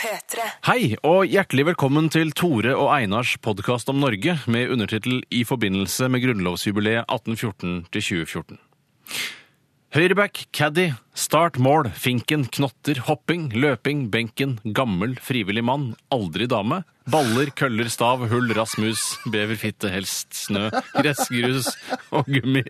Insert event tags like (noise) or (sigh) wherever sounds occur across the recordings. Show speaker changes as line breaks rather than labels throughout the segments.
P3.
Hei, og hjertelig velkommen til Tore og Einars podkast om Norge, med undertittel I forbindelse med grunnlovsjubileet 1814-2014. Høyreback, caddy, start, mål, finken, knotter, hopping, løping, benken, gammel, frivillig mann, aldri dame, baller, køller, stav, hull, Rasmus, bever, fitte, helst, snø, gressgrus og gummi.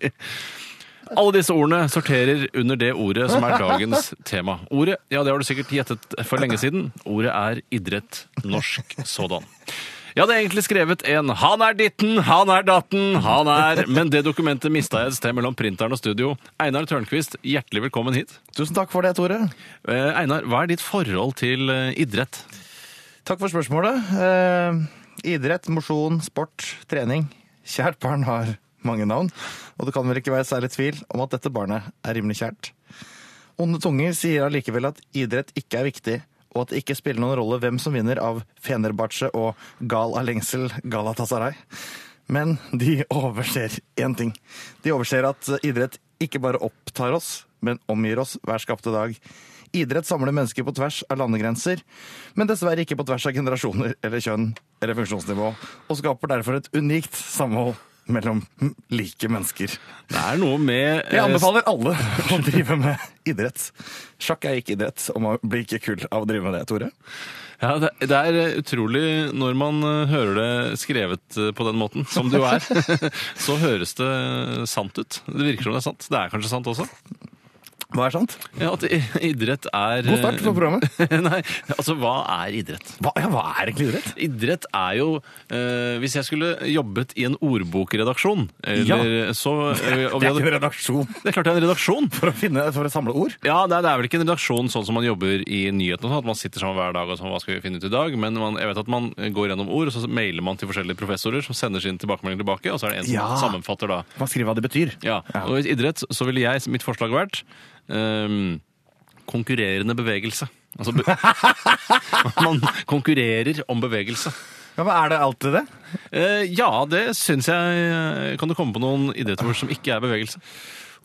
Alle disse ordene sorterer under det ordet som er dagens tema. Ordet ja, det har du sikkert gjettet for lenge siden. Ordet er idrett, norsk sådan. Jeg hadde egentlig skrevet en 'Han er ditten, han er datten, han er' Men det dokumentet mista jeg et sted mellom printeren og studio. Einar Tørnquist, hjertelig velkommen hit.
Tusen takk for det, Tore.
Eh, Einar, hva er ditt forhold til eh, idrett?
Takk for spørsmålet. Eh, idrett, mosjon, sport, trening. Kjært barn har mange navn, og det kan vel ikke være særlig tvil om at dette barnet er rimelig kjært. Onde tunger sier allikevel at idrett ikke er viktig, og at det ikke spiller noen rolle hvem som vinner av Fenerbahçe og Gal Alengsel Galatasaray. Men de overser én ting. De overser at idrett ikke bare opptar oss, men omgir oss hver skapte dag. Idrett samler mennesker på tvers av landegrenser, men dessverre ikke på tvers av generasjoner eller kjønn eller funksjonsnivå, og skaper derfor et unikt samhold mellom like mennesker.
Det er noe med eh,
Jeg anbefaler alle å drive med idrett. Sjakk er ikke idrett, og man blir ikke kull av å drive med det, Tore.
Ja, det, det er utrolig når man eh, hører det skrevet eh, på den måten, som det jo er. (laughs) så høres det sant ut. Det virker som det er sant. Det er kanskje sant også?
Hva er sant?
Ja, At i- idrett er eh,
God start på programmet.
(laughs) Nei, altså hva er idrett?
Eh, Hva, ja, hva er egentlig idrett?
Idrett er jo eh, Hvis jeg skulle jobbet i en ordbokredaksjon, eller så eh, og vi
(laughs) Det er jo
hadde,
en redaksjon
Det er klart det er en redaksjon!
for å, finne, for å samle ord.
Ja, det er, det er vel ikke en redaksjon sånn som man jobber i nyhetene, og sånn, at man sitter sammen hver dag og sånn, hva skal vi finne ut i dag, men man, jeg vet at man går gjennom ord, og så mailer man til forskjellige professorer som sender sin tilbakemelding tilbake, og så er det en som
Ja.
sammenfatter da.
Man skriver hva det betyr.
Ja, og i idrett så ville jeg, mitt forslag vært, ehm, konkurrerende bevegelse. Altså, be man konkurrerer om bevegelse.
Ja, men er det alltid det?
Eh, ja, det synes jeg, eh, kan du komme på noen idretter hvor som ikke er bevegelse?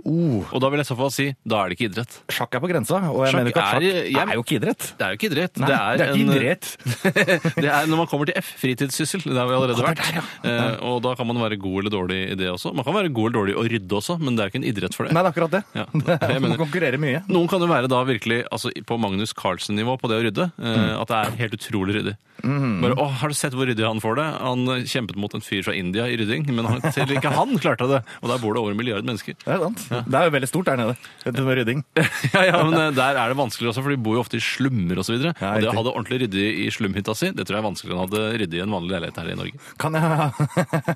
Oh,
Og da vil jeg i så fall si, da er det ikke idrett.
sjakk er på grensa, og jeg
Sjakk
mener ikke at
er-
sjakk er,
jeg-
jo ikke idrett.
Det er jo ikke idrett.
Nei, det er
en- eh,
ikke idrett.
det er når man kommer til F, fritidssyssel. Det har vi allerede
Ah,
vært.
det er
Eh, og da kan man være god eller dårlig i det også. Man kan være god eller dårlig i å rydde også, men det er ikke en idrett for det.
Nei, det er akkurat det.
(laughs) Ja,
(laughs) det er,
jeg
man
mener-
konkurrerer mye.
Noen kan jo være da virkelig altså, på Magnus Carlsen-nivå på det å rydde. eh,
Mm.
At det er helt utrolig ryddig. Bare, å, Har du sett hvor ryddig han får det? Han eh, kjempet mot en fyr fra India i rydding, men han, selv ikke han klarte det. Og der bor det over en milliard
(laughs)
mennesker.
Det er sant. Det er jo veldig stort der nede. Dette med rydding.
ja, ja, men eh, Der er det vanskeligere også, for de bor jo ofte i slummer osv. Og, så videre.
Ja,
og det å
riktig.
ha det ordentlig ryddig i slumhytta si, det tror jeg er vanskeligere enn å ha det ryddig i en vanlig leilighet her i Norge.
Kan jeg, (laughs)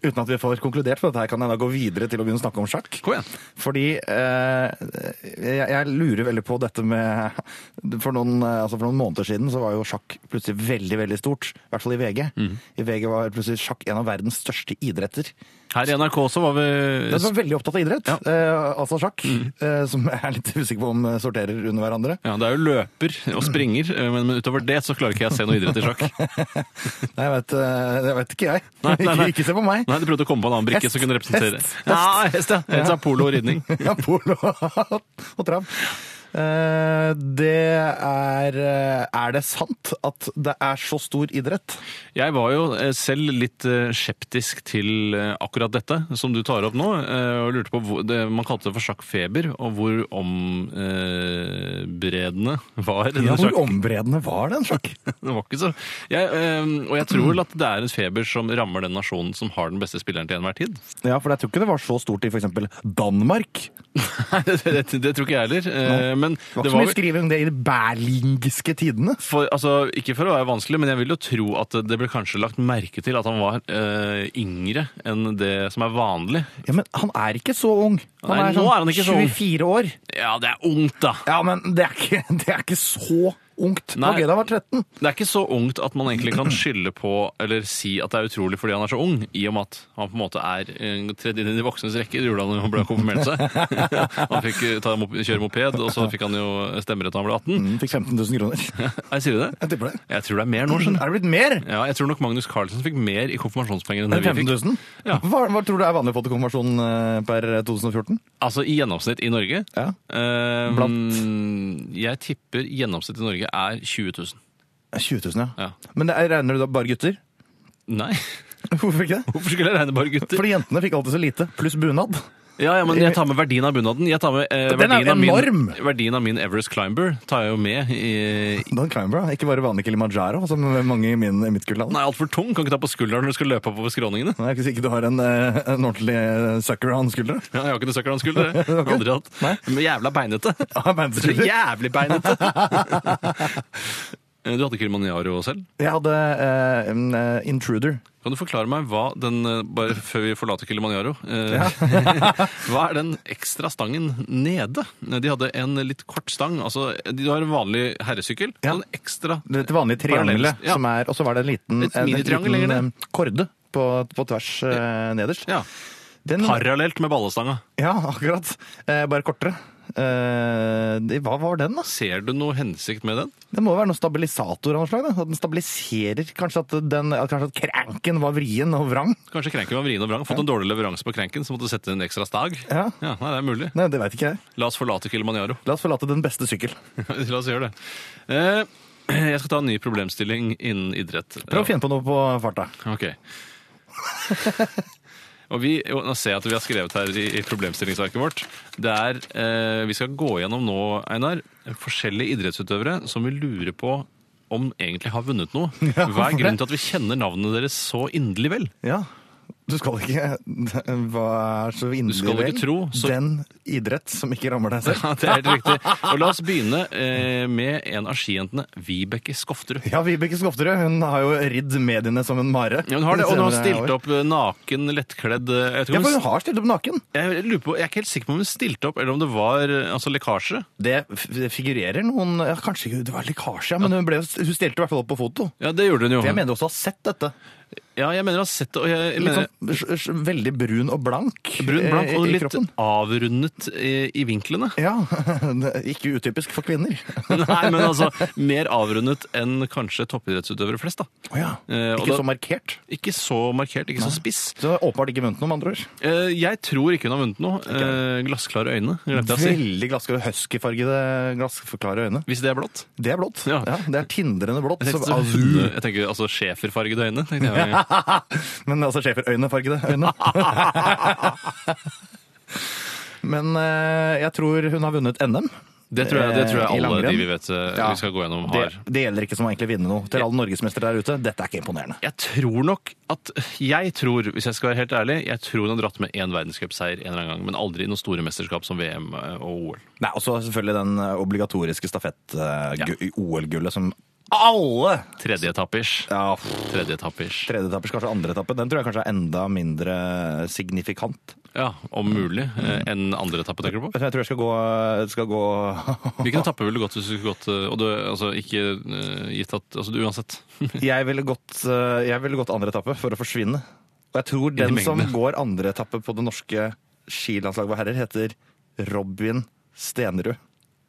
uten at vi får konkludert på dette, her, kan jeg da gå videre til å begynne å snakke om sjakk?
Kom igjen.
Fordi eh, jeg, jeg lurer veldig på dette med for noen, eh, altså for noen måneder siden så var jo sjakk plutselig veldig veldig stort. I hvert fall i VG.
Mm.
I VG var plutselig sjakk en av verdens største idretter.
Her i NRK så var vi
Den var veldig opptatt av idrett, eh, altså sjakk.
Mm.
Eh, som jeg er litt usikker på om eh, sorterer under hverandre.
Ja, det er jo løper og springer, eh, men, men utover det så klarer ikke jeg å se noe idrett i sjakk.
(laughs) Nei, jeg vet, eh, det vet ikke jeg.
Nei, nei, nei.
(laughs) Ikke, ikke se på meg.
Nei, Du prøvde å komme på en annen brikke
Hest,
som kunne representere
hest, hest.
Ja, hest, ja. Hest er polo og ridning.
Ja, polo og trav. Eh, Det er eh, Er det sant at det er så stor idrett?
Jeg var jo eh, selv litt eh, skeptisk til eh, akkurat dette som du tar opp nå, eh, og lurte på hvor det, Man kalte det for sjakkfeber, og hvor ombredende var denne
Ja, hvor
sjakk...
ombredende var den sjakk?
(laughs) Det var ikke så... Jeg, eh, og jeg tror vel at det er en feber som rammer den nasjonen som har den beste spilleren til enhver tid.
Ja, for jeg tror ikke det var så stort i f.eks. Danmark.
Nei, det, det, det tror ikke jeg heller. eh, Men det
Det var ikke så
var
mye skriving om det i de berlingske tidene.
for, altså, ikke for å være vanskelig, men jeg vil jo tro at det ble kanskje lagt merke til at han var eh, yngre enn det som er vanlig.
Ja, Men han er ikke så ung. Han
Nei,
er
nå
sånn
er han ikke så ung.
24 år.
Ja, det er ungt, da!
Ja, men det er ikke, (laughs) det er ikke så ungt. Det
Nei.
var gøy da han var 13.
Det er ikke så ungt at man egentlig kan skylde på eller si at det er utrolig fordi han er så ung, i og med at han på en måte er eh, tredd inn i de voksnes rekker. Gjorde han da han ble konfirmert
(laughs)
seg. han fikk eh, ta, mop- kjøre moped, og så fikk han jo stemmerett da han ble 18.
Mm, Fikk 15 000 kroner. (laughs)
Nei, sier du det?
Jeg tipper det.
Jeg tror det er mer nå,
Er
skjønner du.
det blitt mer?
Ja, jeg tror nok Magnus Carlsen fikk mer i konfirmasjonspenger enn det vi
15
fikk.
000?
Ja.
Hva, hva tror du er vanlig fotokonfirmasjon eh, per 2014?
Altså i gjennomsnitt i Norge.
Ja.
Eh,
Blant?
Jeg tipper gjennomsnitt i Norge er 20 000.
20 000, ja.
Ja.
Men det er, regner du da bare gutter? (laughs)
Nei,
Hvorfor ikke det?
(laughs) hvorfor skulle jeg regne bare gutter?
Fordi jentene fikk alltid så lite, pluss bunad.
Ja, ja, men jeg tar med verdien av bunaden. Jeg tar med, eh,
Den er jo
verdien, av min,
enorm!
verdien av min Everest Climber tar jeg jo med i
Dan Climber, da. Ikke bare vanlig Kilimanjaro, som mange i, min, i mitt kullland.
Nei, altfor tung. Kan ikke ta på skulderen når du skal løpe oppover skråningene.
Jeg er ikke sikker du har en, eh, en ordentlig eh, sucker on (laughs) skuldra.
Ja, jeg har ikke noe søkkel av en skulder.
(laughs)
jeg. Aldri hatt.
Nei.
Men jævla beinete.
(laughs) Ah, men-
Så jævlig beinete!
(laughs)
Eh, Du hadde Kilimanjaro selv.
Jeg hadde eh, en eh, intruder.
Kan du forklare meg hva den eh, Bare før vi forlater Kilimanjaro. eh, (laughs) hva er den ekstra stangen nede? De hadde en litt kort stang. Altså, de har en vanlig herresykkel.
Ja.
Og en ekstra
Dette vanlige triangelet.
Parallellst, ja.
som er- Og så var det en
Et
liten, Mm, en, en
minitriangel
liten
lenger ned.
eh, korde på, på tvers eh, nederst.
ja,
Den,
parallelt med ballestanga.
ja, akkurat. Eh, bare kortere. Eh, det, hva var den, da?
Ser du noe hensikt med den?
Det må jo være noen stabilisator av noe slag? da. At den stabiliserer? Kanskje at, den, at kanskje at kranken var vrien og vrang?
Kanskje krenken var vrien og vrang. Fått en dårlig leveranse på krenken, så måtte du sette inn en ekstra stag.
Ja.
Ja, nei, det er mulig.
Nei, det veit ikke jeg.
La oss forlate Kilimanjaro. (laughs)
La oss forlate den beste sykkel.
La oss gjøre det. Eh, (clears throat) jeg skal ta en ny problemstilling innen idrett.
Prøv å finne på noe på farta.
Ok. Og vi, jo, nå ser jeg at vi har skrevet her i, i problemstillingsarket vårt. Det er, eh, Vi skal gå gjennom nå, Einar, forskjellige idrettsutøvere som vi lurer på om egentlig har vunnet (laughs) noe. Hva
Ja,
er
for det-
grunnen til at vi kjenner navnene deres så inderlig vel?
Ja. Du skal ikke (laughs) Hva er så inderlig
skal ikke tro, så-
Den idrett som ikke rammer deg selv.
(laughs) Ja, det er helt riktig. Og la oss begynne eh, med en av skijentene, Vibeke Skofterud.
Ja, Vibeke Skofterud hun har jo ridd mediene som en mare.
Ja, hun har det, og hun har stilt opp eh, naken, lettkledd eh, jeg, tror
Ja, for
hun,
hun har stilt opp naken.
jeg, lurer på, jeg er ikke helt sikker på om hun stilte opp, eller om det var eh, altså, lekkasje.
Det f- figurerer noen ja, Kanskje ikke- det var lekkasje, ja, men hun, ble, jo- hun stilte i hvert fall opp på foto.
Ja, det gjorde hun jo.
For jeg mener også å ha sett dette.
Ja, jeg mener jeg har sett det, og jeg,
Litt
mener,
sånn s- s- veldig brun og blank.
brun, blank
eh,
og
i
litt
kroppen.
avrundet i, i vinklene. (laughs)
Ja. (laughs) det er Ikke utypisk for kvinner.
Nei, men altså, mer avrundet enn kanskje toppidrettsutøvere flest, da.
Å (laughs) ja.
Eh, og
Ikke
da-
så markert.
Ikke så markert, ikke så spiss.
Så hun har åpenbart ikke vunnet noe, med andre ord.
Eh, Jeg tror ikke hun har vunnet noe. Eh, Glassklare øyne, glemte jeg å si.
Veldig glasskare, huskyfargede glassforklare øyne.
Hvis det er blått.
Det er blått.
Ja.
Ja. det er tindrende blått.
Jeg
Som
tenkte, så,
azur.
jeg tenker altså schæferfargede øyne. tenkte jeg.
Men altså schæferøynefargede (laughs) øyne. Men eh, jeg tror hun har vunnet NM.
Det tror jeg, det tror jeg
Eh, i
alle de
langrenn.
vi vet eh,
Ja.
vi skal gå gjennom,
Det,
har.
det gjelder ikke som å egentlig vinne noe. Til alle norgesmestere der ute, dette er ikke imponerende.
Jeg tror nok at Jeg tror, hvis jeg skal være helt ærlig, jeg tror hun har dratt med én verdenscupseier en eller annen gang, men aldri i noen store mesterskap som VM og OL.
Nei, Og så selvfølgelig den eh, obligatoriske eh, stafett-OL-gullet som alle
Tredje etappe-ish.
ja,
Tredje etappe-ish.
Tredjeetappers, kanskje andre etappe. Den tror jeg kanskje er enda mindre signifikant.
Ja, om mulig. eh, enn andre etappe, tenker du på?
Jeg tror jeg skal gå, eh, skal gå
Hvilken etappe ville du gått hvis du skulle gått eh, Og du, altså ikke eh, gitt at Altså du, uansett.
jeg, ville gått, eh, jeg ville gått andre etappe for å forsvinne. Og jeg tror den som
mengden.
går andre etappe på det norske skilandslaget for herrer, heter Robin Stenerud.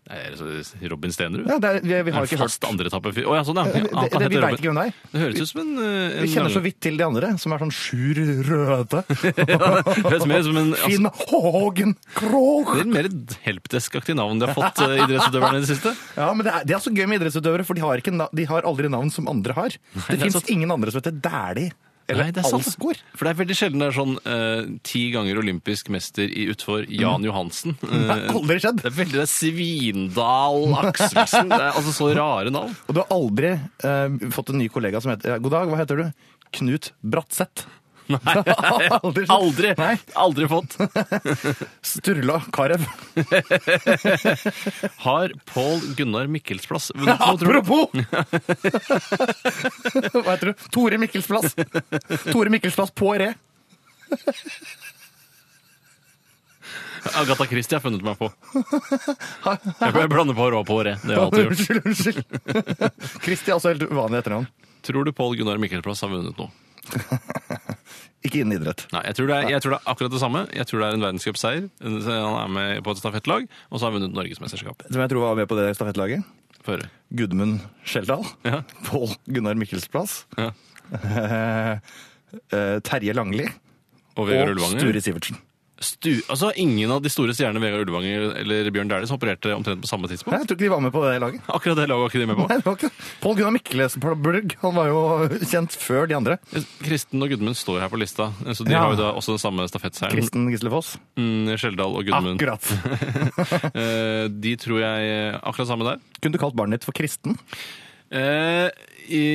Nei, er det så- Robin Stenerud?
Ja, det er, vi, vi har ikke hørt
Fast andre etappe Å ja, sånn, ja.
det,
ja.
det,
han
det, Vi
heter
veit
Robin.
ikke hvem det er.
Det høres ut som en, eh, en
Vi kjenner så
lang-
vidt til de andre, som er sånn sjur (laughs) røde.
Ja, (laughs) det høres mer ut som
(laughs)
en altså,
Finn Hågen Krog!
Det er mer et helpdesk-aktig navn de har fått, eh,
(laughs)
idrettsutøverne i det siste.
Ja, men det er, det er så gøy med idrettsutøvere, for de har, ikke, na- de har aldri navn som andre har.
det
det
er
fins
sant.
ingen andre som heter Dæhlie eller
Nei, det er sant.
Alsgaard.
For det er veldig sjelden det er sånn eh, ti ganger olympisk mester i utfor Jan (laughs) Johansen.
Det har
Eh,
aldri skjedd.
det er veldig det er Svindal Akselsen. Det er altså så rare navn.
Og du har aldri eh, fått en ny kollega som heter ja, God dag, hva heter du? Knut Bratseth.
(laughs)
(laughs)
Nei,
Aldri.
aldri,
Nei.
aldri fått.
Sturla
(laughs)
Karev.
Har Pål Gunnar Mikkelsplass vunnet noe, tror du?
(laughs) Apropos! hva heter du? Tore Mikkelsplass. Tore Mikkelsplass på re.
Agatha Christie har funnet meg på. Jeg ble- jeg blander på rå på håret. Det har jeg alltid gjort.
(laughs) Unnskyld, unnskyld. Kristi er også helt uvanlig etternavn.
Tror du Pål Gunnar Mikkelsplass har vunnet noe?
Ikke innen idrett.
Nei, jeg tror, det er, jeg tror det er akkurat det samme. Jeg tror det er en verdenscupseier. Han er med på et stafettlag, og så har han vunnet norgesmesterskapet.
Som jeg tror var med på det stafettlaget.
Få høre.
Gudmund Skjeldal.
Ja.
Pål Gunnar Mikkelsplass. (laughs)
Ja.
Eh, eh, Terje Langli.
Og Vegard
Og
Ulvanger.
Sture Sivertsen.
Stu altså, ingen av de store stjernene, Vegard Ulvanger eller Bjørn Dæhlie, som opererte omtrent på samme tidspunkt.
Nei, jeg tror ikke de var med på det laget.
Akkurat det laget var ikke de med på.
Nei, det var ikke det. Pål Gunnar Mikkelsen på Blugg, han var jo kjent før de andre.
Kristen og Gudmund står her på lista, så de
Ja.
har jo da også den samme stafettseieren.
Kristen Gislefoss.
Mm, Skjeldal og Gudmund.
Akkurat.
Eh, de tror jeg eh, akkurat samme der.
Kunne du kalt barnet ditt for Kristen?
Eh, i,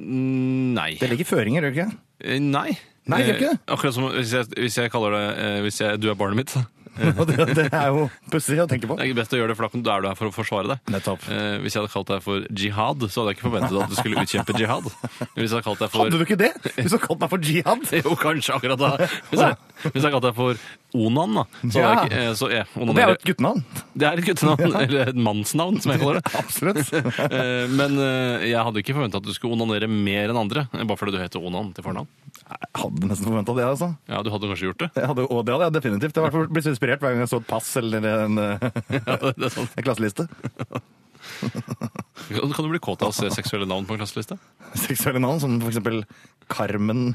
nei.
Det ligger føringer, gjør det ikke?
Eh, Nei.
Nei, gjør ikke det?
Eh, Akkurat som hvis jeg, hvis jeg kaller det eh, hvis jeg, Du er barnet mitt. Det
Og det, det er jo pussig å tenke på.
er ikke best å gjøre det, for da kan- da er du her for å forsvare deg.
Nettopp.
Eh, hvis jeg hadde kalt deg for jihad, så hadde jeg ikke forventet at du skulle utkjempe jihad. Hvis jeg hadde kalt deg for (laughs)
Hadde du ikke det? Hvis du hadde kalt meg for jihad?
Jo, kanskje akkurat da. Hvis jeg, hvis jeg hadde kalt deg for Onan, da. Så hadde jeg ikke, eh, så, ja,
Det er jo
onanerer.
et guttenavn.
Det er et guttenavn, eller et mannsnavn, som jeg kaller det.
Absolutt.
Eh, Men eh, jeg hadde ikke forventa at du skulle onanere mer enn andre, eh, bare fordi du heter Onan til fornavn.
Jeg hadde nesten forventa det, altså.
Ja, du hadde kanskje gjort det?
Jeg hadde, og det hadde jeg definitivt. Jeg har i hvert fall blitt så inspirert hver gang jeg så et pass eller en, eh,
Ja, (laughs) det det er sant.
en klasseliste.
Kan kan du bli kåt av å se seksuelle navn på en klasseliste?
Seksuelle navn, som for eksempel Carmen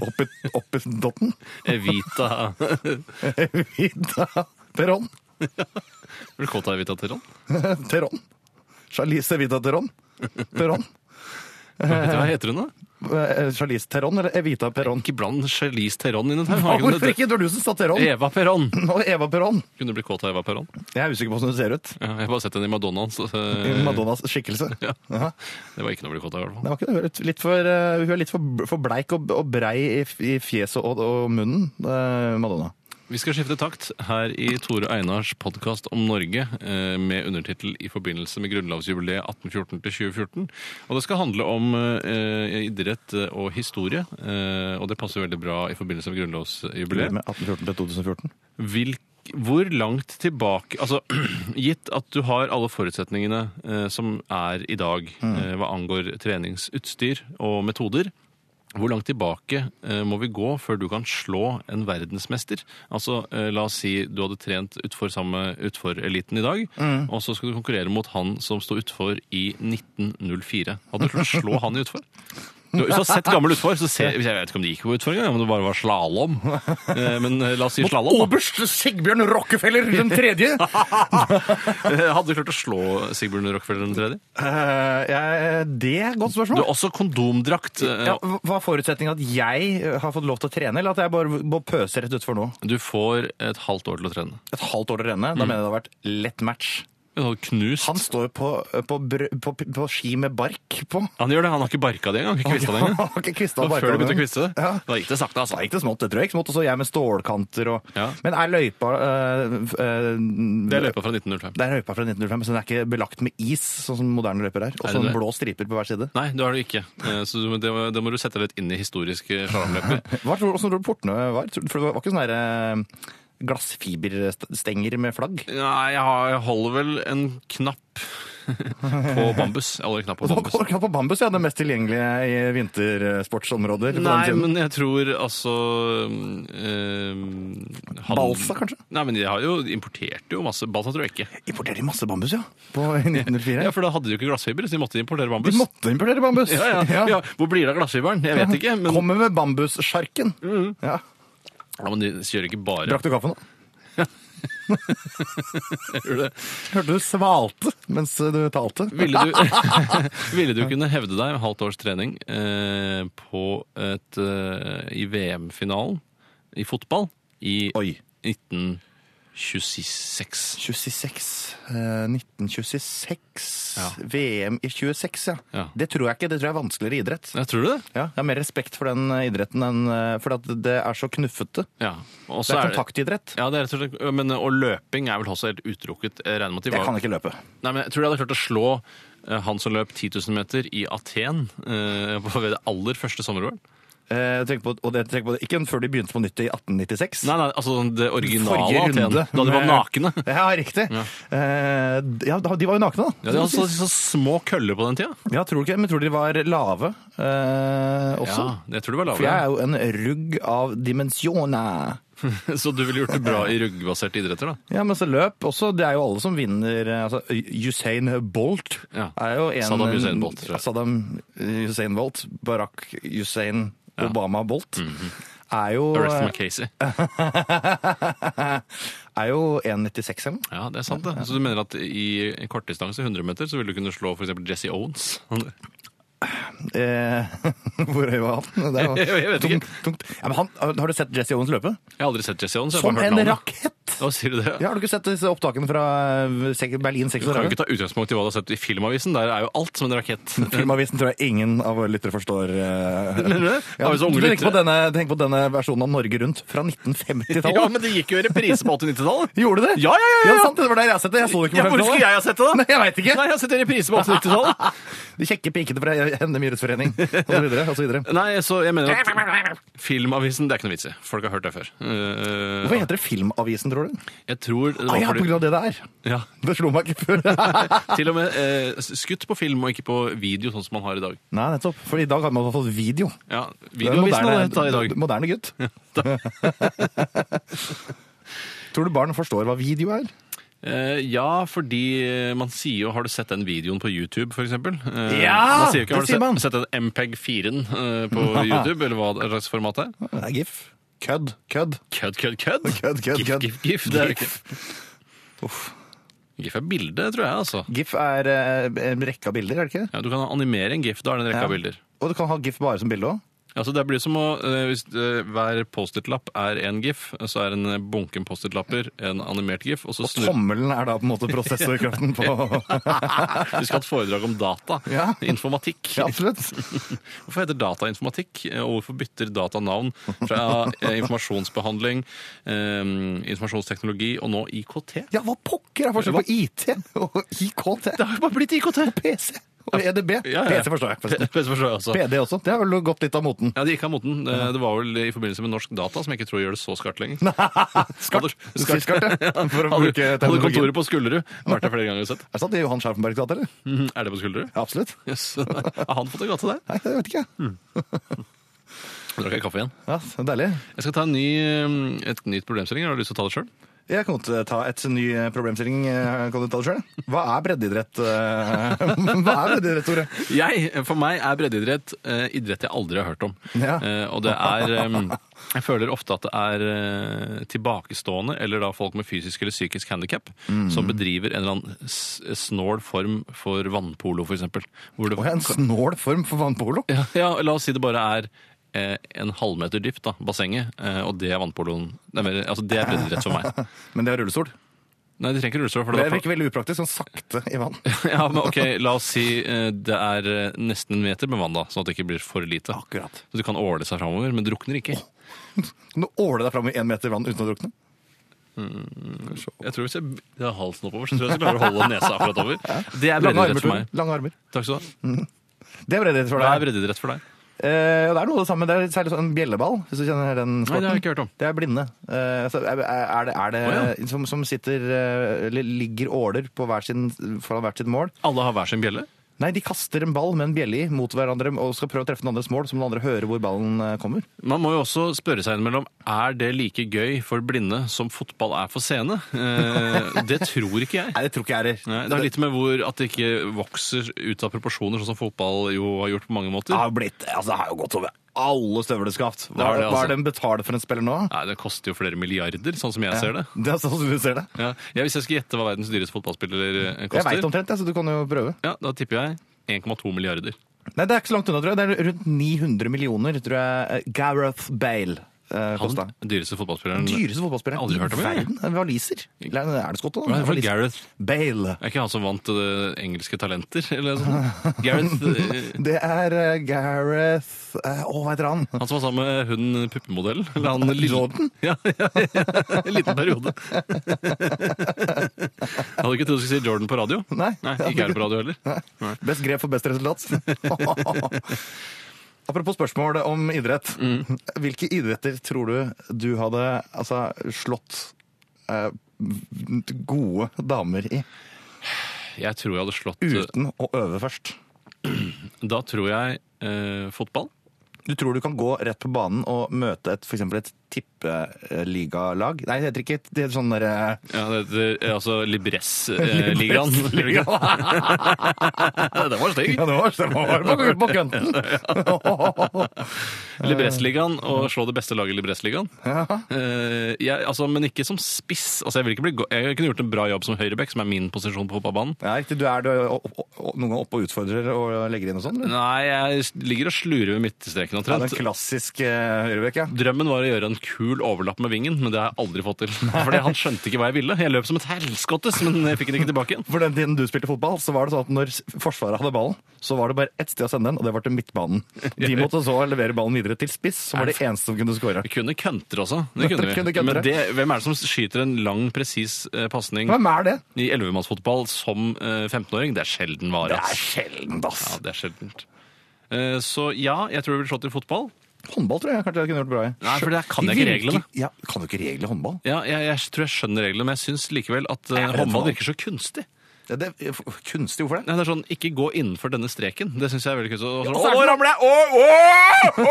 oppi, oppi dotten. (laughs)
Evita
Vida Teron.
Blir du kåt av Evita Teron?
(laughs) Teron. Charlize Evita Teron. Teron.
Hva heter- hva heter hun, da?
Eh, Charlize Teron eller Evita Peron? Ah,
Ikke bland Charlize Teron inn i den her. Har ikke E- hun
Hvorfor
et-
ikke? Det var du som sa Teron.
Eva Peron!
Og Eva Peron.
Kunne du bli kåt av Eva Peron?
Jeg er usikker på hvordan hun ser ut.
Ja, jeg har bare sett henne i Madonnaens.
I
eh,
Madonnas skikkelse.
Ja.
Jaha.
Det var ikke noe å bli kåt av, i hvert fall.
Det var ikke det. Hun er litt- Litt for, eh, hun er litt for, for bleik og, og brei i, i fjeset og, og munnen, eh, Madonna.
Vi skal skifte takt her i Tore Einars podkast om Norge eh, med undertittel i forbindelse med grunnlovsjubileet 1814-2014. Og det skal handle om eh, idrett og historie, eh, og det passer veldig bra i forbindelse med grunnlovsjubileet.
Med 1814 til 2014.
Hvilk, hvor langt tilbake Altså, (clears throat) gitt at du har alle forutsetningene eh, som er i dag eh, hva angår treningsutstyr og metoder, hvor langt tilbake eh, må vi gå før du kan slå en verdensmester? Altså, eh, la oss si du hadde trent utfor samme utfor-eliten i dag, og så skulle du konkurrere mot han som sto utfor i 1904. Hadde du klart å slå han i utfor? Du, hvis du har sett gammel utfor, så ser Jeg vet ikke om de gikk på utfor engang, om det bare var slalåm. Men eh, la oss si slalåm.
Oberst Sigbjørn Rockefeller den tredje!
(laughs) Eh, Hadde du klart å slå Sigbjørn Rockefeller den tredje?
Eh, det er et godt
Du
spørsmål.
har også kondomdrakt. eh,
Ja, var forutsetningen at jeg har fått lov til å trene, eller at jeg bare må pøse rett utfor nå?
Du får et halvt år til å trene.
Et halvt år til å renne?
Mm.
Da mener jeg det har vært lett match.
Du har knust.
Han står jo på, på, brø- på, på ski med bark på.
Han gjør det, han har ikke barka det engang. Ikke kvista
(laughs)
det (laughs) engang.
Ok, kvista
Det
og
var
barka
Før du begynte å
den.
kviste det.
Ja.
Da gikk det sakte,
Da
altså.
gikk det smått, det tror jeg. Ikke smått, og så jeg med stålkanter og
Ja.
Men er løypa eh, eh,
Det er løypa fra 1905.
Det er løypa fra 1905, så den er ikke belagt med is, sånn som moderne løyper
Er
er. Og
det
sånn
det?
blå striper på hver side.
Nei, det har du ikke. Eh, Så du- det må- det må du sette litt inn i eh, historiske slalåmløper.
Hva tror, hvordan tror du portene var? Tror- For det var ikke sånne der, eh, glassfiberstenger med flagg?
(laughs) Nei, jeg har- jeg holder vel en knapp (laughs) på bambus. Jeg holder en knapp på
Det var
bambus.
ikke på bambus, ja. Det mest tilgjengelige i vintersportsområder. på den
Nei,
tiden.
men jeg tror altså eh, han-
Balsa, kanskje?
Nei, men de har jo importerte jo masse Balsa tror jeg ikke.
Importerer de masse bambus, ja? På i 1904?
Ja, For da hadde de jo ikke glassfiber, så de måtte importere bambus.
De måtte importere bambus!
ja,
(laughs)
ja. Ja. Hvor blir det av glassfiberen? Jeg vet ikke. Men, Mm.
Kommer med bambussjarken. Ja.
ja, men de kjører ikke bare
Drakk du kaffe nå?
Gjør det.
Hørte du svalte mens du talte?
Ville du, (laughs) ville du kunne hevde deg med halvt års trening eh, på et, eh, i VM-finalen i fotball i
Oi.
1926?
26. eh, 1926.
Ja.
VM i 26, ja.
Ja.
Det tror jeg ikke. Det tror jeg er vanskeligere idrett.
Ja, tror du det?
Ja, jeg har mer respekt for den eh, idretten enn eh, For at det er så knuffete.
Ja. Og
Det
så
er kontaktidrett.
Ja, det er rett og slett, men, og løping er vel også helt utelukket. Jeg regner med at de
Jeg
var...
kan ikke løpe.
Nei, men jeg tror de hadde klart å slå eh, han som løp 10 000 meter i Aten eh, på- ved det aller første sommer-OL.
Eh, tenk på, og det, tenk på det. Ikke før de begynte på nytt i 1896.
Nei, nei, altså det originale
Forrige
Aten,
runde
da de var
med-
nakne.
(laughs) Ja, riktig.
Ja.
Eh, ja, de var jo nakne, da.
Ja, de hadde så, så små køller på den tida.
Ja, tror du ikke? Men tror du de var lave eh, også?
Ja, jeg tror det var
For jeg
lavere.
er jo en rugg av dimensjoner.
(laughs) Så du ville gjort det bra i ruggbaserte idretter, da?
Ja, men så løp også. Det er jo alle som vinner. eh, Altså, Usain Bolt
Ja.
er jo en eh,
Saddam Hussein Bolt, tror jeg. Mhm.
Saddam Hussein Bolt, Barack Hussein Obama Bolt. er jo,
Arrest McCasey.
(laughs) er jo 1,96 eller noe.
Ja, det er sant, det. Så du mener at i en kortdistanse, 100 meter, så vil du kunne slå f.eks. Jesse Owens?
Eh, (laughs) hvor høy var han? Det er jo
(laughs) Jeg vet ikke.
tungt, tungt. Ja, men han, har du sett Jesse Owens løpe?
Jeg har aldri sett Jesse Owens. jeg har
Som
bare hørt
en
navnet.
rakett!
Å, sier du det?
Ja, har du ikke sett disse opptakene fra eh, sek- Berlin
Du kan jo
36?
ikke ta utgangspunkt i hva du har sett i Filmavisen. Der er jo alt som en rakett. (laughs)
Filmavisen tror jeg ingen av våre lyttere forstår. eh.
Mener du det?
Ja,
Har vi så unge
tenk, på
lyttere?
denne, tenk på denne versjonen av Norge Rundt
(laughs)
fra 1950-tallet.
Ja, men det gikk jo i reprise på 80-90-tallet.
Gjorde det?
(laughs) Ja, ja, ja, ja.
sant, Det var der jeg har sett det. Jeg så det
Ja,
ikke på
hvor
50-tallet.
skulle jeg ha sett det, da?
Nei, jeg vet ikke.
Nei, jeg har sett en reprise på 80-90-tallet.
(laughs) De kjekke pikene fra Hemne Myhretsforening og så videre. Og så videre.
Nei, så jeg mener at Filmavisen, det er ikke noe vits i. Folk har hørt det før. Eh,
Hvorfor heter det Filmavisen, tror du?
jeg tror det
Ah,
var
ja, på
fordi
grunn av det det er.
ja,
Det slo meg ikke før. (laughs)
Til og med eh, skutt på film og ikke på video, sånn som man har i dag.
Nei, nettopp. For i dag har man fått video.
Ja,
Det er en
Videoavisen hadde hett da i dag.
moderne
(laughs)
gutt. tror du barn forstår hva video er?
Eh, ja, fordi eh, man sier jo 'har du sett den videoen på YouTube', for eksempel? Eh,
Ja,
man sier jo ikke, har
det
du
sier man.
sett, sett den MPEG-4-en eh, på (laughs) YouTube, eller hva det slags format det er?
Det er gif. Kødd. Kødd.
Kødd, kødd, kødd!
Kødd, kødd,
Gif,
kødd.
gif, gif. Det er jo ikke.
Uff.
GIF er bilde, tror jeg, altså.
GIF er eh, en rekke av bilder, er det ikke?
Ja, du kan animere en GIF, da er det en rekke
Ja.
av bilder.
Og du kan ha GIF bare som bilde òg.
Altså, det blir som å, eh, Hvis eh, hver Post-It-lapp er en GIF, så er en bunken Post-It-lapper en animert GIF. Og så snur
Tommelen er da på en måte prosessorkraften
(laughs)
på
Vi skal ha et foredrag om data.
(laughs) Ja.
Informatikk.
Ja, absolutt.
Hvorfor heter data informatikk? eh, Og hvorfor bytter data navn fra eh, informasjonsbehandling, eh, informasjonsteknologi og nå IKT?
Ja, hva pokker er forskjellen på IT og IKT?
Det har jo bare blitt IKT!
PC og E EDB.
Ja, ja.
PC forstår jeg, forresten.
PC forstår jeg også.
PD også. Det har vel gått litt av moten.
Ja, Det gikk av moten. Eh, Det var vel i forbindelse med norsk data, som jeg ikke tror gjør det så skarpt
(laughs)
lenger.
Skart.
Hadde-
Skart, skart
(laughs)
ja. For å
Hadde,
bruke
hadde
teknologien.
kontoret på Skullerud. Vært der flere ganger sett.
Er det sant? Det er Johan Scharfenbergs gate, eller?
Mhm, Er det på Skullerud?
Ja, absolutt.
Yes. Har han fått en gate der?
Nei, jeg vet ikke.
Nå drakk jeg kaffe igjen.
Ja, det er deilig.
Jeg skal ta en ny, eh, et nytt problemstilling. Har du lyst til å ta det sjøl?
Jeg kan godt eh, ta et ny problemstilling. eh, Kan du ta det selv? Hva er breddeidrett? eh? (laughs) Hva er breddeidrett, Tore?
Jeg, for meg er breddeidrett eh, idrett jeg aldri har hørt om.
Ja.
Eh, og det er em, Jeg føler ofte at det er eh, tilbakestående, eller da folk med fysisk eller psykisk handikap, som
Mm.
bedriver en eller annen s- snål form for vannpolo, f.eks.
Å, ja, en snål form for vannpolo.
ja, ja, la oss si det bare er eh, en halvmeter dypt, da, bassenget, eh, og det er vannpoloen. Nei, men, altså, det er breddeidrett for meg. (laughs)
Men det er rullestol.
Nei, de trenger ikke rullestol. for
Det
da-
virker veldig upraktisk. Sånn sakte i vann.
(laughs) ja, men ok, La oss si eh, det er eh, nesten en meter med vann, da, sånn at det ikke blir for lite.
Akkurat.
Så du kan åle seg framover, men drukner ikke.
Kan du åle deg fram i én meter vann uten å drukne?
Jeg tror Hvis jeg jeg har halsen oppover, så tror jeg jeg klarer å holde nesa akkurat over. Det er
Lange
breddeidrett
armer,
for
Tore.
meg.
Lange armer.
Takk skal du ha.
Det er breddeidrett for
Hva er
deg.
breddeidrett for deg?
Eh, og det er noe av det samme. Det er særlig sånn bjelleball, hvis du kjenner den sporten.
Nei, det har jeg ikke hørt om.
Det er blinde. Eh, så er er det, er det
Å,
som, som sitter eh, Eller ligger åler på hver sin, foran hvert sitt mål.
Alle har hver sin bjelle?
Nei, de kaster en ball med en bjelle i mot hverandre og skal prøve å treffe den andres mål, så må den andre høre hvor ballen eh, kommer.
Man må jo også spørre seg innimellom er det like gøy for blinde som fotball er for seende. Eh, det tror ikke jeg.
Nei, det tror ikke jeg heller.
Nei, det har litt med hvor at det ikke vokser ut av proporsjoner, sånn som fotball jo har gjort på mange måter.
har blitt, altså, det har jo gått over alle støvleskaft. Hva,
Det har det,
hva
altså.
er det en betaler for en spiller nå?
Nei, det koster jo flere milliarder, sånn som jeg ser det.
Det er sånn som du ser det.
Ja, ja, hvis jeg skal gjette hva verdens dyreste fotballspiller eh,
Jeg
koster,
veit omtrent, jeg, så du kan jo prøve.
ja, da tipper jeg 1,2 milliarder.
Nei, det er ikke så langt unna, tror jeg. Det er rundt 900 millioner, tror jeg. eh, Gareth Bale eh,
Han
kosta.
den dyreste fotballspilleren
Dyreste fotballspilleren
Aldri hørt om,
i
jeg.
verden. En Waliser. Eller, Er det Skottland?
Hva er det for
Waliser.
Gareth?
Bale.
Er ikke han som vant eh, engelske talenter, eller noe
(laughs)
sånt? Gareth eh,
Det er eh, Gareth eh, Å, hva heter han? (laughs)
Han som var sammen med hun puppemodellen? Eller han lille-
Jordan?
(laughs) Ja, ja, ja, en liten periode. Jeg hadde ikke trodd du skulle si Jordan på radio.
Nei.
Ikke er det på radio heller.
Best grep for best resultat. (laughs) Apropos spørsmål om idrett.
Mm.
(laughs) Hvilke idretter tror du du hadde altså, slått eh, gode damer i
Jeg tror jeg hadde slått
uten å øve først?
Da tror jeg eh, fotball.
Du tror du kan gå rett på banen og møte et, for eksempel et tippeligalag? Nei, det heter ikke et- det heter sånn derre
Ja, det heter altså Libress-ligaen.
Liga.
(laughs) det var stygg.
Ja, det var, det var på, på kønten.
Librettligaen og slå det beste laget i Librettligaen.
Ja.
Eh, jeg- altså, men ikke som spiss. Altså, jeg, vil ikke bli go jeg kunne gjort en bra jobb som høyreback, som er min posisjon på fotballbanen.
Ja, riktig. Du er du, er opp- opp- noen ganger oppe og utfordrer og legger inn og sånn? eller?
Nei, jeg ligger og slurer ved midtstreken
Ja,
omtrent.
den klassiske høyrebekk, eh, ja.
Drømmen var å gjøre en kul overlapp med vingen, men det har jeg aldri fått
(laughs)
til. Fordi han skjønte ikke hva jeg ville. Jeg løp som et helskottes, men jeg fikk den ikke tilbake igjen.
For den tiden du spilte fotball, så var det sånn at når Forsvaret hadde ballen, så var det bare ett sted å sende den, og det var til midtbanen. De måtte så levere ballen videre til spiss, som var det eneste som kunne skåre.
Vi kunne køntre også. Det kunne vi.
Kunne køntre.
Men det, hvem er det som skyter en lang, presis eh, pasning
Hvem er det?
i ellevemannsfotball som eh, 15-åring? Det er sjelden vare.
Det er
ass.
sjeldent, ass.
Ja, det er sjeldent. Eh, Så ja, jeg tror det blir slått i fotball.
Håndball tror jeg kanskje jeg kunne gjort bra i.
Nei, for der kan jeg
De
ikke
virker-
reglene.
Ja, kan du ikke reglene i håndball?
Ja, jeg, jeg tror jeg skjønner reglene, men jeg syns likevel at eh,
Jeg er redd for
håndball
håndball.
virker så kunstig.
Det, det er f- kunstig, hvorfor det?
Nei, det er sånn, Ikke gå innenfor denne streken. Det syns jeg er veldig kunstig. Og sånn,
og så er
«Å,
det-
ramler jeg! Å, (laughs) å,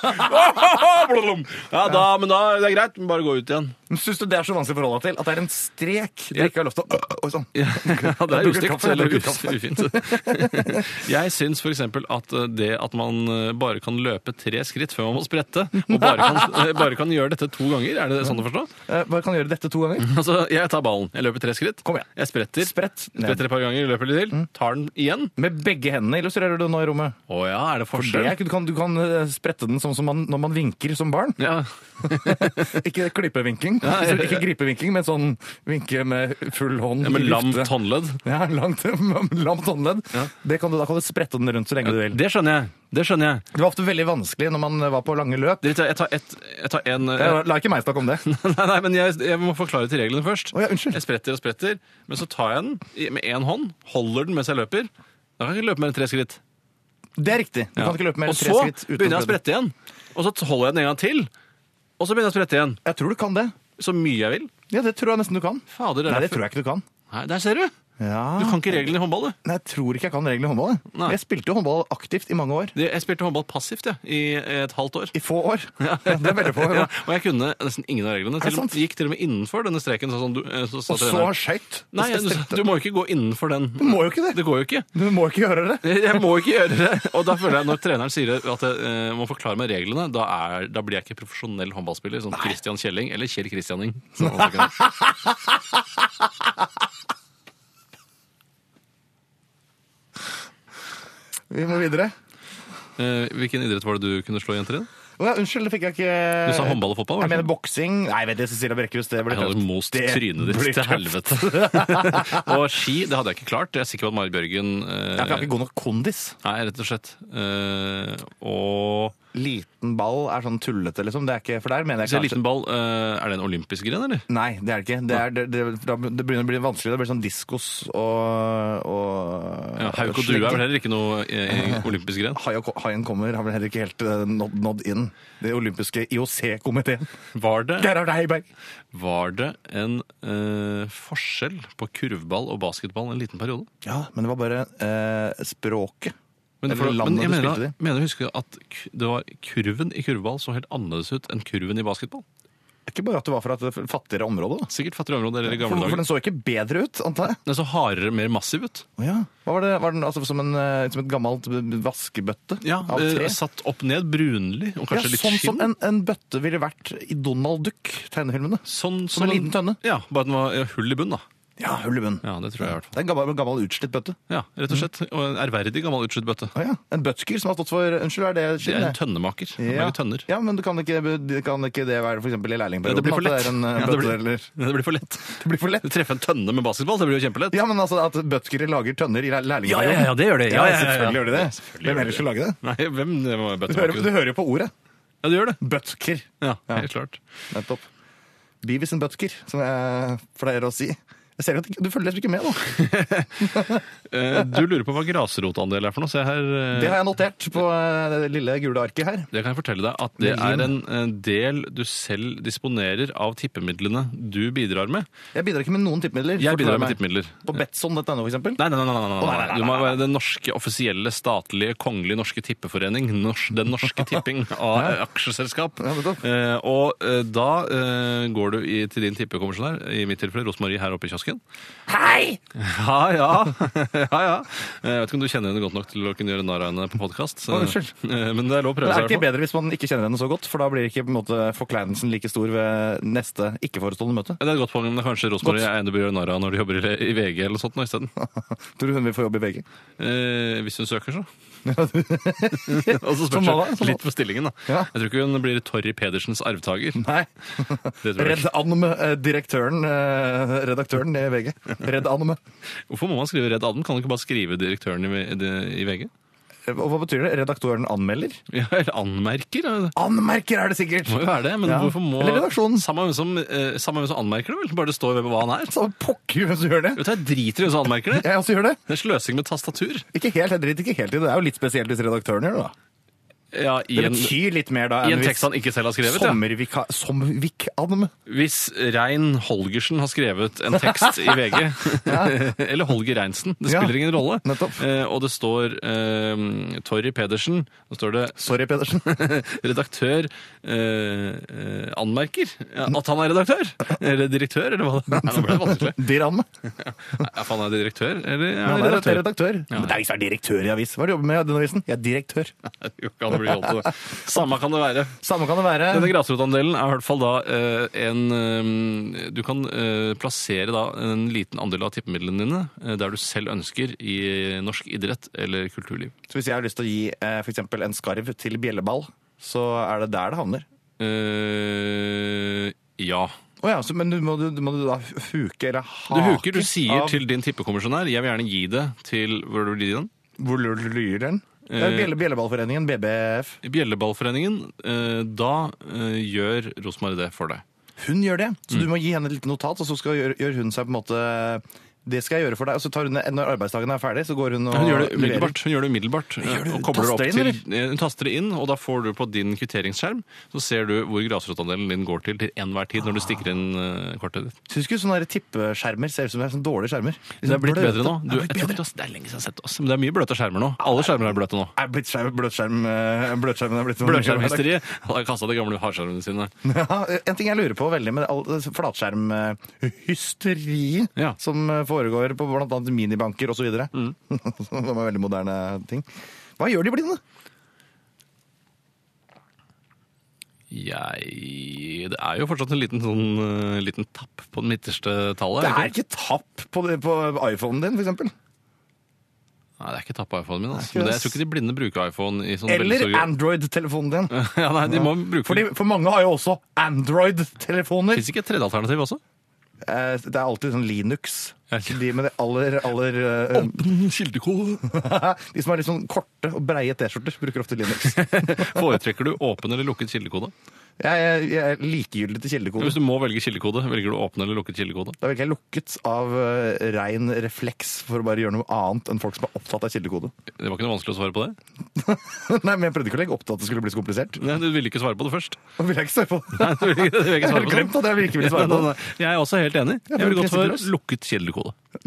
å, å, å, å, å, å, å, å, å, å, å, å, å, å, å, å, å». Ja, da, men da det er greit. men Bare gå ut igjen.
Men Syns du det er så vanskelig å forholde deg til? At det er en strek du
Ja.
ikke har lov til å Oi sånn.
(laughs) Ja, (laughs) det er
Jeg bruker
ustygt
kaffe, jeg
eller
bruker
us- ufint. (laughs) Jeg syns f.eks. at eh, det at man eh, bare kan løpe tre skritt før man må sprette, og bare (laughs) kan, eh, bare kan gjøre dette to ganger, er det sånn å forstå?
Eh, Bare kan gjøre dette to ganger.
Altså, Jeg tar ballen, jeg løper tre skritt,
Kom igjen.
jeg spretter,
Sprett ned.
spretter et par ganger, løper litt til, tar den igjen.
Med begge hendene illustrerer du nå i rommet.
Å ja, er det
Det
forskjell?
er, du, kan, du kan eh, sprette den sånn som man, når man vinker som
(laughs)
barn.
Ja,
Ikke klippevinking,
Ja, ja, ja.
ikke gripevinking, men sånn vinke med full hånd.
ja, Med
i
lamt
vifte.
håndledd.
Ja, langt, (laughs) lamt håndledd.
Ja.
Det kan du, da kan du sprette den rundt så lenge du vil.
Det skjønner jeg. det skjønner Jeg
Det var ofte veldig vanskelig når man eh, var på lange løp.
Dere, Jeg tar, et, jeg tar en eh,
Jeg, la ikke meg snakke om det.
(laughs) Nei, nei, men jeg, jeg må forklare til reglene først.
Å ja, unnskyld.
Jeg spretter og spretter, men så tar jeg den i- med én hånd, holder den mens jeg løper. Da kan jeg ikke løpe mer enn tre skritt.
Det er riktig. Du
Ja.
kan ikke løpe mer
og
enn tre
så
skritt. uten
begynner jeg å sprette igjen. Og så holder jeg den en gang til. Og så begynner jeg å sprette igjen.
Jeg tror du kan det.
Så mye jeg vil.
Ja, det tror jeg nesten du kan.
Fader, det er
Nei, det
derfor-
tror jeg ikke du kan.
Nei, Der ser du!
Ja.
Du kan ikke reglene i håndball, du.
Nei, jeg tror ikke jeg kan reglene i håndball. jeg.
Nei.
Jeg spilte jo håndball aktivt i mange år.
Det- Jeg spilte håndball passivt jeg, i et halvt år.
I få år. Det er veldig få år.
(laughs) Ja,
da.
og jeg kunne nesten ingen av reglene.
det
Til, og med-
sant?
gikk til og med innenfor denne streken. Sånn, som du, eh, så sa
Og så
treneren,
skøyt.
Nei, du, sa, du må jo ikke gå innenfor den.
Du må jo ikke det.
Det går jo ikke.
Du må ikke gjøre det.
Jeg må ikke gjøre det. Og da føler jeg når treneren sier at jeg eh, må forklare meg reglene, da, er, da blir jeg ikke profesjonell håndballspiller. Sånn Christian Kjelling eller Kjell Christianing. som han også kan.
Vi må videre.
Eh, Hvilken idrett var det du kunne slå jenter i?
Å ja, unnskyld, det fikk jeg ikke
Du sa håndball og fotball?
Eh, Jeg
var det
mener
ikke?
boksing. Nei, vet du, Cecilia Brekkhus, det blir
Jeg hadde most
Det
trynet ditt
blir
til
tøft.
helvete. (laughs) og ski, det hadde jeg ikke klart. Jeg er sikker på at Mari Bjørgen eh,
Jeg har ikke god nok kondis.
Nei, rett og slett. Eh, og
Liten ball er sånn tullete, liksom. Det er ikke For der mener
Hvis jeg er
jeg kanskje
liten ball, eh, er det en olympisk gren, eller?
Nei, det er det ikke. Det, er, det, det, da det begynner å bli vanskelig. Det blir sånn diskos og, og
Ja, Hauk og due er vel heller ikke noe
(laughs)
eh, olympisk gren.
Hai og- Haien kommer har vel heller ikke helt eh, nådd, nådd inn. Det olympiske (laughs) IOC-komiteen.
Var det
Gerhard Heiberg!
Var det en eh, forskjell på kurvball og basketball en liten periode?
Ja, men det var bare eh, språket.
Men,
Eller landet
men jeg
du
mener,
spilte det
mener å huske at k- det var kurven i kurvball så helt annerledes ut enn kurven i basketball.
Ikke bare at det var fra et fattigere område, da.
Sikkert fattigere områder eller i
For,
gamle
for
dager.
den så ikke bedre ut, antar jeg.
Den så hardere, mer massiv ut.
Å ja. Hva var det? Var den altså, som, en, eh, som et gammelt b- vaskebøtte
Ja,
av
eh,
tre?
Satt opp ned, brunlig og
Ja,
kanskje litt
sånn
skinn.
som en, en bøtte ville vært i Donald Duck-tegnefilmene.
Sånn
som en liten tønne.
Ja, bare at den var ja, hull i bunnen, da.
Ja, hull i bunnen.
Ja, det tror jeg i hvert fall.
Det er en gammel, gammel utslitt bøtte.
Ja, rett og slett. Og en ærverdig gammel utslitt bøtte.
Å Mm. ja. En bøttker som har stått for Unnskyld, er det
Det
skinn?
er en tønnemaker. Han
Ja.
lager tønner. (laughs)
ja, men kan ikke, kan ikke det være for eksempel i
Ja,
lærlingperioden?
det blir for
at
lett.
Det, er en, eh,
Ja, det
bøtte,
blir-
eller... (laughs)
Det blir for lett.
det blir for lett.
Treffe en tønne med basketball, det blir jo kjempelett.
Ja, men altså at bøttker lager tønner i lær- lærlingperioden.
det gjør det.
selvfølgelig gjør de det. Hvem ellers skulle lage det?
Nei, hvem eh, det var
Du hører, du
bøttemaker?
hører jo på ordet.
Ja, du gjør det.
Bøttker.
Ja,
Ja.
helt klart.
Nettopp. Beavis and Butker, som jeg pleier å si. Jeg ser jo at du følger liksom ikke med, da.
Eh, Du lurer på hva grasrotandel er for noe. Se her. eh,
Det har jeg notert på eh, det lille gule arket her.
Det kan jeg fortelle deg at det
Med
er
lim.
en en del du selv disponerer av tippemidlene du bidrar med.
Jeg bidrar ikke med noen tippemidler.
Jeg bidrar med
forklarer meg.
tippemidler.
På Betson.no, for eksempel.
Nei, nei, nei. nei, nei,
nei,
nei,
nei,
nei. Du må være den norske offisielle, statlige, kongelige norske tippeforening. Nors, den
(laughs)
norske tipping av eh, aksjeselskap.
Ja, nettopp.
Eh, og eh, da eh, går du i, til din tippekommisjonær, i mitt tilfelle Rosmarie her oppe i kiosken, kiosken. Hei! Ja, (laughs) ja. ja, ja. Jeg vet ikke om du kjenner henne godt nok til å kunne gjøre narr av henne på podkast.
Å, unnskyld.
(laughs) Men det er lov å
Men
prøve
er
seg. i
det ikke
hvert fall.
bedre hvis man ikke kjenner henne så godt? For da blir ikke på en måte, forkleinelsen like stor ved neste ikke-forestående møte. (laughs)
Det er et godt poeng, men det er kanskje Rosmarie Eine bør gjøre narr av når de jobber i i VG eller sånt nå isteden.
Tror du hun vil få jobb i VG?
Eh, hvis hun søker, så. (laughs) og så
Som
spørs
hva da? Som
det litt på stillingen, da.
Ja.
Jeg tror ikke hun blir Torry Pedersens arvtaker.
(laughs) (laughs) Nei.
Det tror jeg
Redd
ikke.
Anme, eh, direktøren, eh, redaktøren i VG. Redd Anme.
Hvorfor må man skrive Redd Adam? Kan du ikke bare skrive direktøren i, i VG?
Eh, Og hva betyr det? Redaktøren anmelder?
(laughs) Ja, eller anmerker? er det det?
Anmerker er det (laughs) sikkert!
Det må jo være det, men
Ja.
hvorfor må
Eller redaksjonen.
Samme hvem som, eh, samme hvem som anmerker det, vel? Bare det står hvem- hva han er.
Så pokker hvem som gjør det.
Vet du, Jeg driter i hvem som anmerker det.
Jeg også gjør det.
Det er sløsing med tastatur.
Ikke helt, jeg driter ikke helt i det. Det er jo litt spesielt hvis redaktøren gjør det, da.
Ja, i
Det
en, i
betyr litt mer da
en
enn
tekst
hvis
han ikke selv har skrevet. Ja.
sommervika... Sommervik-anme.
Hvis Rein Holgersen har skrevet en tekst i
(laughs)
VG, (laughs) eller Holger Reinsen, det
Ja,
spiller ingen rolle,
nettopp.
Eh, og det står eh, Torry Pedersen, da står det (laughs)
Sorry, Pedersen. (laughs)
redaktør eh, eh, anmerker ja, at han er redaktør, eller direktør, eller hva det (laughs) Nei, Nå ble det vanskelig.
Dirr Anme.
Er han er direktør, eller er
Han
han
er
redaktør?
redaktør. Men det er ikke direktør i avis. Hva er det du jobber med i den avisen? Jeg er direktør.
Nei, det går ikke an å bli holdt til det. Samme kan det være.
Samme kan det være.
Denne grasrotandelen er i hvert fall da eh, en eh, Du kan eh, plassere da en liten andel av tippemidlene dine eh, der du selv ønsker i norsk idrett eller kulturliv.
Så hvis jeg har lyst til å gi eh, for eksempel en skarv til bjelleball, så er det der det havner.
Eh, ja.
Å ja, så, men du må, du, må du da huke eller hake
Du huker, du sier
av-
til din tippekommisjonær jeg vil gjerne gi det til Hvor blir det den?
Hvor lyr den? Det er
Eh.
Bjelle, Bjelleballforeningen, BBF.
Bjelleballforeningen. eh, da eh, gjør Rosmar det for deg.
Hun gjør det, så
Mm.
du må gi henne et lite notat, og så skal gjør, gjør hun seg på en måte Det skal jeg gjøre for deg. Og så tar hun det når arbeidsdagen er ferdig, så går hun og
Hun gjør det
leverer.
umiddelbart. Hun gjør det umiddelbart eh,
Gjør du-
og kobler det
taster
opp
det inn,
til eh, Hun taster det inn, og da får du på din kvitteringsskjerm Så ser du hvor grasrotandelen din går til til enhver tid når du stikker inn eh, kortet ditt.
Syns ikke sånne der tippeskjermer ser ut som det er sånne dårlige skjermer.
Det er blitt
Bløte.
bedre nå. Du, jeg tror
det er blitt
ikke
bedre.
det, er lenge siden jeg har sett oss, men det er mye bløte skjermer nå. Alle skjermer er bløte nå.
Er blitt skjerm- bløtskjerm, eh, Bløtskjermen er blitt noe mye
Bløtskjermhysteriet (laughs) har kasta de gamle hardskjermene sine.
bedre. Ja, en ting jeg lurer på veldig med all flatskjermhysteriet
Ja.
som eh, foregår på bl.a. minibanker osv. Mm. (laughs) Som er veldig moderne ting. Hva gjør de blinde?
Jeg Det er jo fortsatt en liten, sånn, eh, liten tapp på den midterste tallet.
Det
er
er ikke tapp på, det- på iPhonen din, f.eks.
Nei, det er ikke tapp på iPhonen min. Altså.
Det er ikke
Men det,
det,
jeg tror ikke de blinde bruker iPhone. i sånn veldig
Eller
stor grad.
Android-telefonen din.
(laughs) ja, nei, de må bruke
Fordi, for mange har jo også Android-telefoner.
Fins ikke et tredje alternativ også?
Eh, Det er alltid sånn Linux.
Ja.
De med det aller, aller eh,
Åpen kildekode.
(laughs) De som har litt sånn korte og breie T-skjorter, bruker ofte Linux.
Foretrekker du åpen eller lukket kildekode?
Jeg er, jeg er likegyldig til kildekode.
Hvis du må velge kildekode, velger du åpen eller lukket kildekode?
Da virker jeg lukket av eh, rein refleks for å bare gjøre noe annet enn folk som er opptatt av kildekode. (laughs)
Det var ikke noe vanskelig å svare på det.
Nei, men Jeg prøvde ikke å legge opp til at det skulle bli så komplisert.
Nei, du ville ikke svare på det først. (laughs)
Da vil jeg ikke svare på det.
Nei, du ville ikke, du ville ikke
Jeg
svare
har
på det.
glemt at jeg ikke ville svare på det.
Nei, nei, nei. Jeg er også helt enig. Jeg ville gått for lukket kildekode.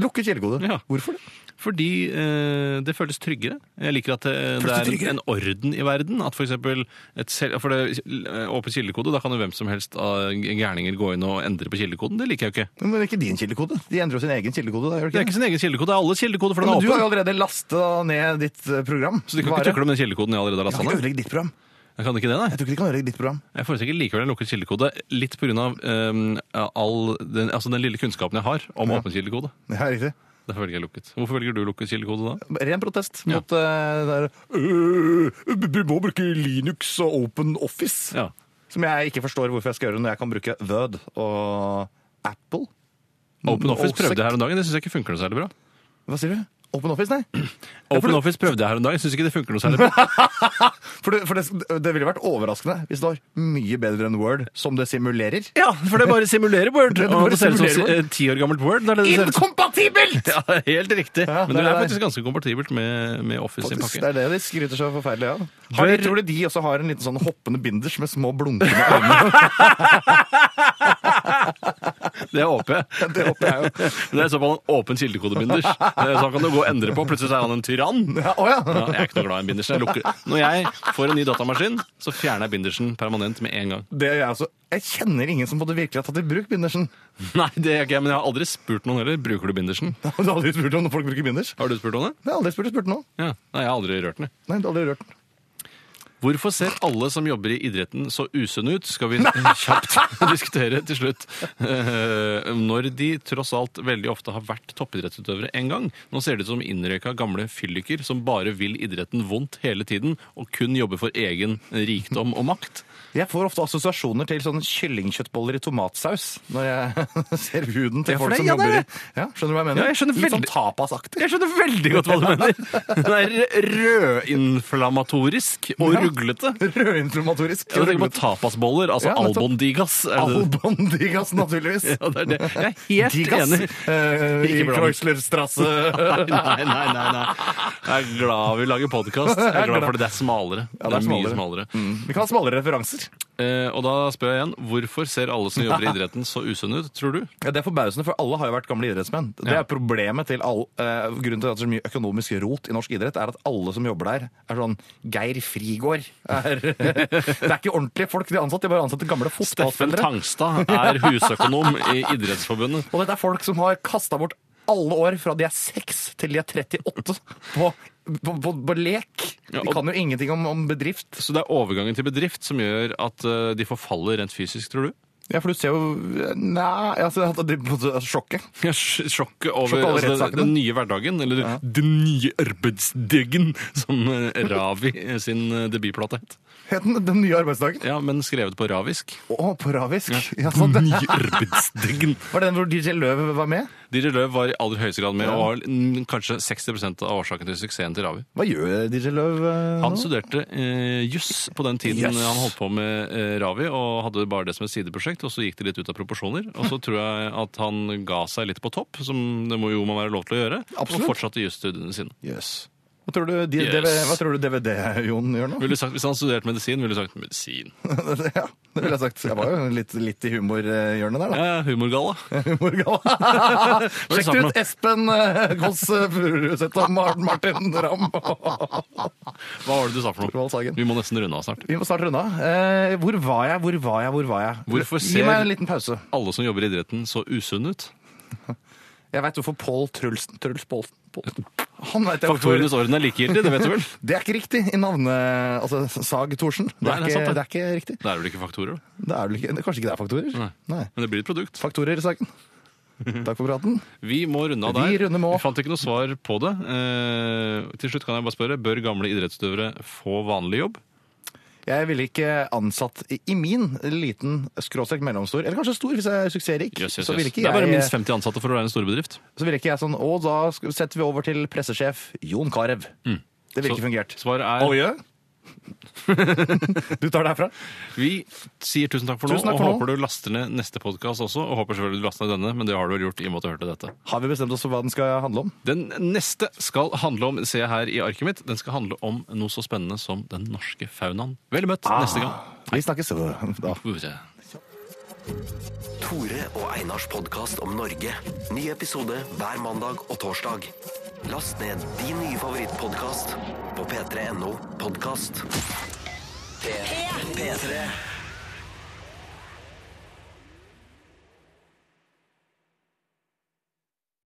Lukket kildekode.
Ja.
Hvorfor det?
Fordi eh, det føles tryggere. Jeg liker at det, det
Føles det
er
tryggere?
en, en orden i verden. At for eksempel et sel- for det, eh, åpen kildekode, da kan jo hvem som helst av gærninger gå inn og endre på kildekoden. Det liker jeg jo ikke.
Men det er ikke din kildekode. De endrer jo sin egen kildekode. Da, gjør de
Det
ikke
er ikke sin egen kildekode, det er alles kildekode, for
Ja,
den er
Men du har jo
åpen.
allerede lasta ned ditt eh, program.
Så de kan ikke tukle med den kildekoden jeg allerede har
Jeg
lasta
kan ikke
ned.
ødelegge ditt program.
Jeg kan ikke det, nei.
Jeg tror ikke de kan ødelegge ditt program.
Jeg foretrekker likevel en lukket kildekode, litt pga. Um, all den, altså den lille kunnskapen jeg har om åpen kildekode.
Ja, riktig.
Derfor velger jeg lukket. Hvorfor velger du lukket kildekode da?
Ren protest
Ja.
mot eh, det der «Øh, Vi må bruke Linux og Open Office.
Ja.
Som jeg ikke forstår hvorfor jeg skal gjøre når jeg kan bruke Word og Apple.
Open
Og
Office prøvde
sekt-
jeg her om dagen, det syns jeg ikke funker noe særlig bra.
Hva sier du? Open Office, nei. for
Open
du-
Office prøvde jeg her om dagen, syns ikke det funker noe særlig bra.
For, det, for det, det ville vært overraskende hvis det var mye bedre enn Word, som det simulerer.
(laughs) Ja, for det bare simulerer Word.
det bare
Og (laughs) det ser ut som
simulerer Word.
et ti år gammelt Word. Det er det det ser ut som. (laughs)
Inkompatibelt!
Ja, helt riktig.
Ja,
Men det
det er
er
det.
faktisk ganske kompatibelt med, med Office sin
Faktisk,
pakke.
det er det de skryter så forferdelig av. Har de,
Bør-
tror du de også har en liten
(laughs)
sånn hoppende binders med små blunkende øyne?
(laughs) Det håper jeg.
Det håper jeg jo.
Men (laughs) Det er i så fall en åpen kildekode, (laughs) binders. Eh, Så han kan du gå og endre på. Plutselig så er han en tyrann. (laughs)
Ja, å ja.
Ja, jeg er ikke noe glad i en binders. Jeg lukker. Når jeg får en ny datamaskin, så fjerner jeg bindersen permanent med en gang.
Det gjør jeg også. Jeg kjenner ingen som både virkelig har tatt i bruk bindersen.
(laughs)
(laughs)
Nei, det gjør ikke jeg, men jeg har aldri spurt noen heller. Bruker du bindersen?
Du har aldri spurt om når folk bruker binders?
Har du spurt noen det?
Det har jeg aldri spurt, spurt noen.
Ja. Nei, jeg har aldri rørt den. jeg.
Nei, du har aldri rørt den.
Hvorfor ser alle som jobber i idretten så usunne ut, skal vi (laughs) kjapt diskutere til slutt. Eh, Når de tross alt veldig ofte har vært toppidrettsutøvere en gang. Nå ser det ut som innrøyka gamle fylliker som bare vil idretten vondt hele tiden, og kun jobber for egen rikdom og makt.
Jeg får ofte assosiasjoner til sånne kyllingkjøttboller i tomatsaus når jeg (laughs) ser huden
Ja,
til
for det-
folk som
ja, det er
jobber i
det.
ja, Skjønner du hva jeg mener?
Ja, jeg skjønner
Litt sånn
veldig-
tapasaktig.
Jeg skjønner veldig godt hva du mener. Den er rødinflammatorisk og
Ja.
ruglete.
(laughs) Rødinflamatorisk.
Jeg tenker på tapasboller, altså
Ja, nettopp.
albondigas. Er det det?
Albondigas, naturligvis.
(laughs) Ja, det er det. Jeg er helt enig.
eh, i
Ikke blant. (laughs)
Kreuzlerstrasse.
Nei, nei, nei, nei, nei. Jeg er glad vi lager podkast. Jeg er glad for det. Det er smalere.
Ja,
det, er mye smalere.
Mm. Vi kan ha smalere referanser.
Eh, og da spør jeg igjen, hvorfor ser alle som jobber i (laughs) idretten så usunne ut, tror du?
Ja, Det er forbausende, for alle har jo vært gamle idrettsmenn. Det
Ja.
er problemet til all, eh, Grunnen til at det er så mye økonomisk rot i norsk idrett, er at alle som jobber der, er sånn Geir Frigård. Er, (laughs) det er ikke ordentlige folk de er ansatt, de er bare ansatte gamle
Steffen
fotballspillere.
Tangstad er husøkonom i Idrettsforbundet.
Og dette er folk som har kasta bort alle år fra de er 6 til de er 38 på, på, på, på lek.
Ja,
De
og-
kan jo ingenting om, om bedrift.
Så det er overgangen til bedrift som gjør at eh, de forfaller rent fysisk, tror du?
Ja, for du ser jo Nei, altså, det er sjokket.
Ja, sj- Sjokket over
Sjokk over
altså, den,
rettssakene.
den nye hverdagen, eller den nye arbeidsdagen, som eh, Ravi eh, sin eh, debutplate het.
Het den Den nye arbeidsdagen?
Ja, men skrevet på ravisk.
Å, på ravisk. Ja, (laughs) sånn.
Den nye (laughs) arbeidsdagen.
Var det den hvor DJ Løv var med?
Diri Løv var i aller høyeste grad med, og var mm, kanskje 60 av årsaken til suksessen til Ravi.
Hva gjør DJ Løv eh,
Han
nå?
studerte eh, juss på den tiden
Yes.
han holdt på med eh, Ravi, og hadde bare det som et sideprosjekt, og så gikk det litt ut av proporsjoner. Og så tror jeg at han ga seg litt på topp, som det må jo man være lov til å gjøre,
Absolutt.
og fortsatte jusstudiene sine.
Yes. Hva tror du, de,
Yes.
DV, hva tror du DVD-Jon gjør nå? (laughs)
Ville sagt, hvis han studerte medisin, ville du sagt medisin.
ja, det ville jeg sagt. Jeg var jo litt, litt i humorhjørnet (laughs) der, da.
Ja, humorgalla. (laughs)
Humorgalla. Sjekk
samme.
ut Espen eh, Gåss eh, Furuseth og Mar- Martin Ramm.
Hva var det du sa for
Roald
noe?
Sagen.
Vi må nesten runde av snart.
Vi må snart runde av. Eh, hvor var jeg, hvor var jeg, hvor var jeg?
Hvorfor
Gi
ser-
meg en liten pause.
Alle som jobber i idretten, så usunne ut.
Jeg veit hvorfor Pål Trulsen Truls Poulsen Poulsen. Han vet jeg hvorfor.
Faktorenes orden er likegyldig, det vet du vel?
Det er ikke riktig i navne... Altså, Sag Thorsen. Det,
Nei,
er
det er
ikke-
sant, det.
det er ikke riktig.
Det er vel ikke faktorer, da.
Det er vel ikke, kanskje ikke det er faktorer?
Nei.
Nei.
Men det blir et produkt.
Faktorer i saken. Takk for praten.
Vi må runde av der.
Vi runder med å-
Vi fant ikke noe svar på det. Eh, til slutt kan jeg bare spørre, bør gamle idrettsutøvere få vanlig jobb?
Jeg ville ikke ansatt i i min liten skråstrek mellomstor, eller kanskje stor hvis jeg er suksessrik,
Yes, yes,
så ville
yes.
ikke
Det er bare minst
jeg,
50 ansatte for å være en storbedrift.
så ville ikke jeg sånn, å da sk- setter vi over til pressesjef Jon Karev. Det ville ikke fungert.
Svaret Mm. er (laughs)
Olje? du tar det herfra?
Vi sier tusen takk for nå,
Tusen takk
og
for nå.
håper du laster ned neste podkast også. Og håper selvfølgelig du laster ned denne, men det har du vel gjort i og med at du hørte dette.
Har vi bestemt oss for hva den skal handle om?
Den neste skal handle om, ser jeg her i arket mitt, den skal handle om noe så spennende som den norske faunaen. Vel møtt neste gang.
Vi snakkes øh, da.
Ure.
Tore og Einars podkast om Norge. Ny episode hver mandag og torsdag. Last ned din nye favorittpodkast på p3.no podkast. P3. P3.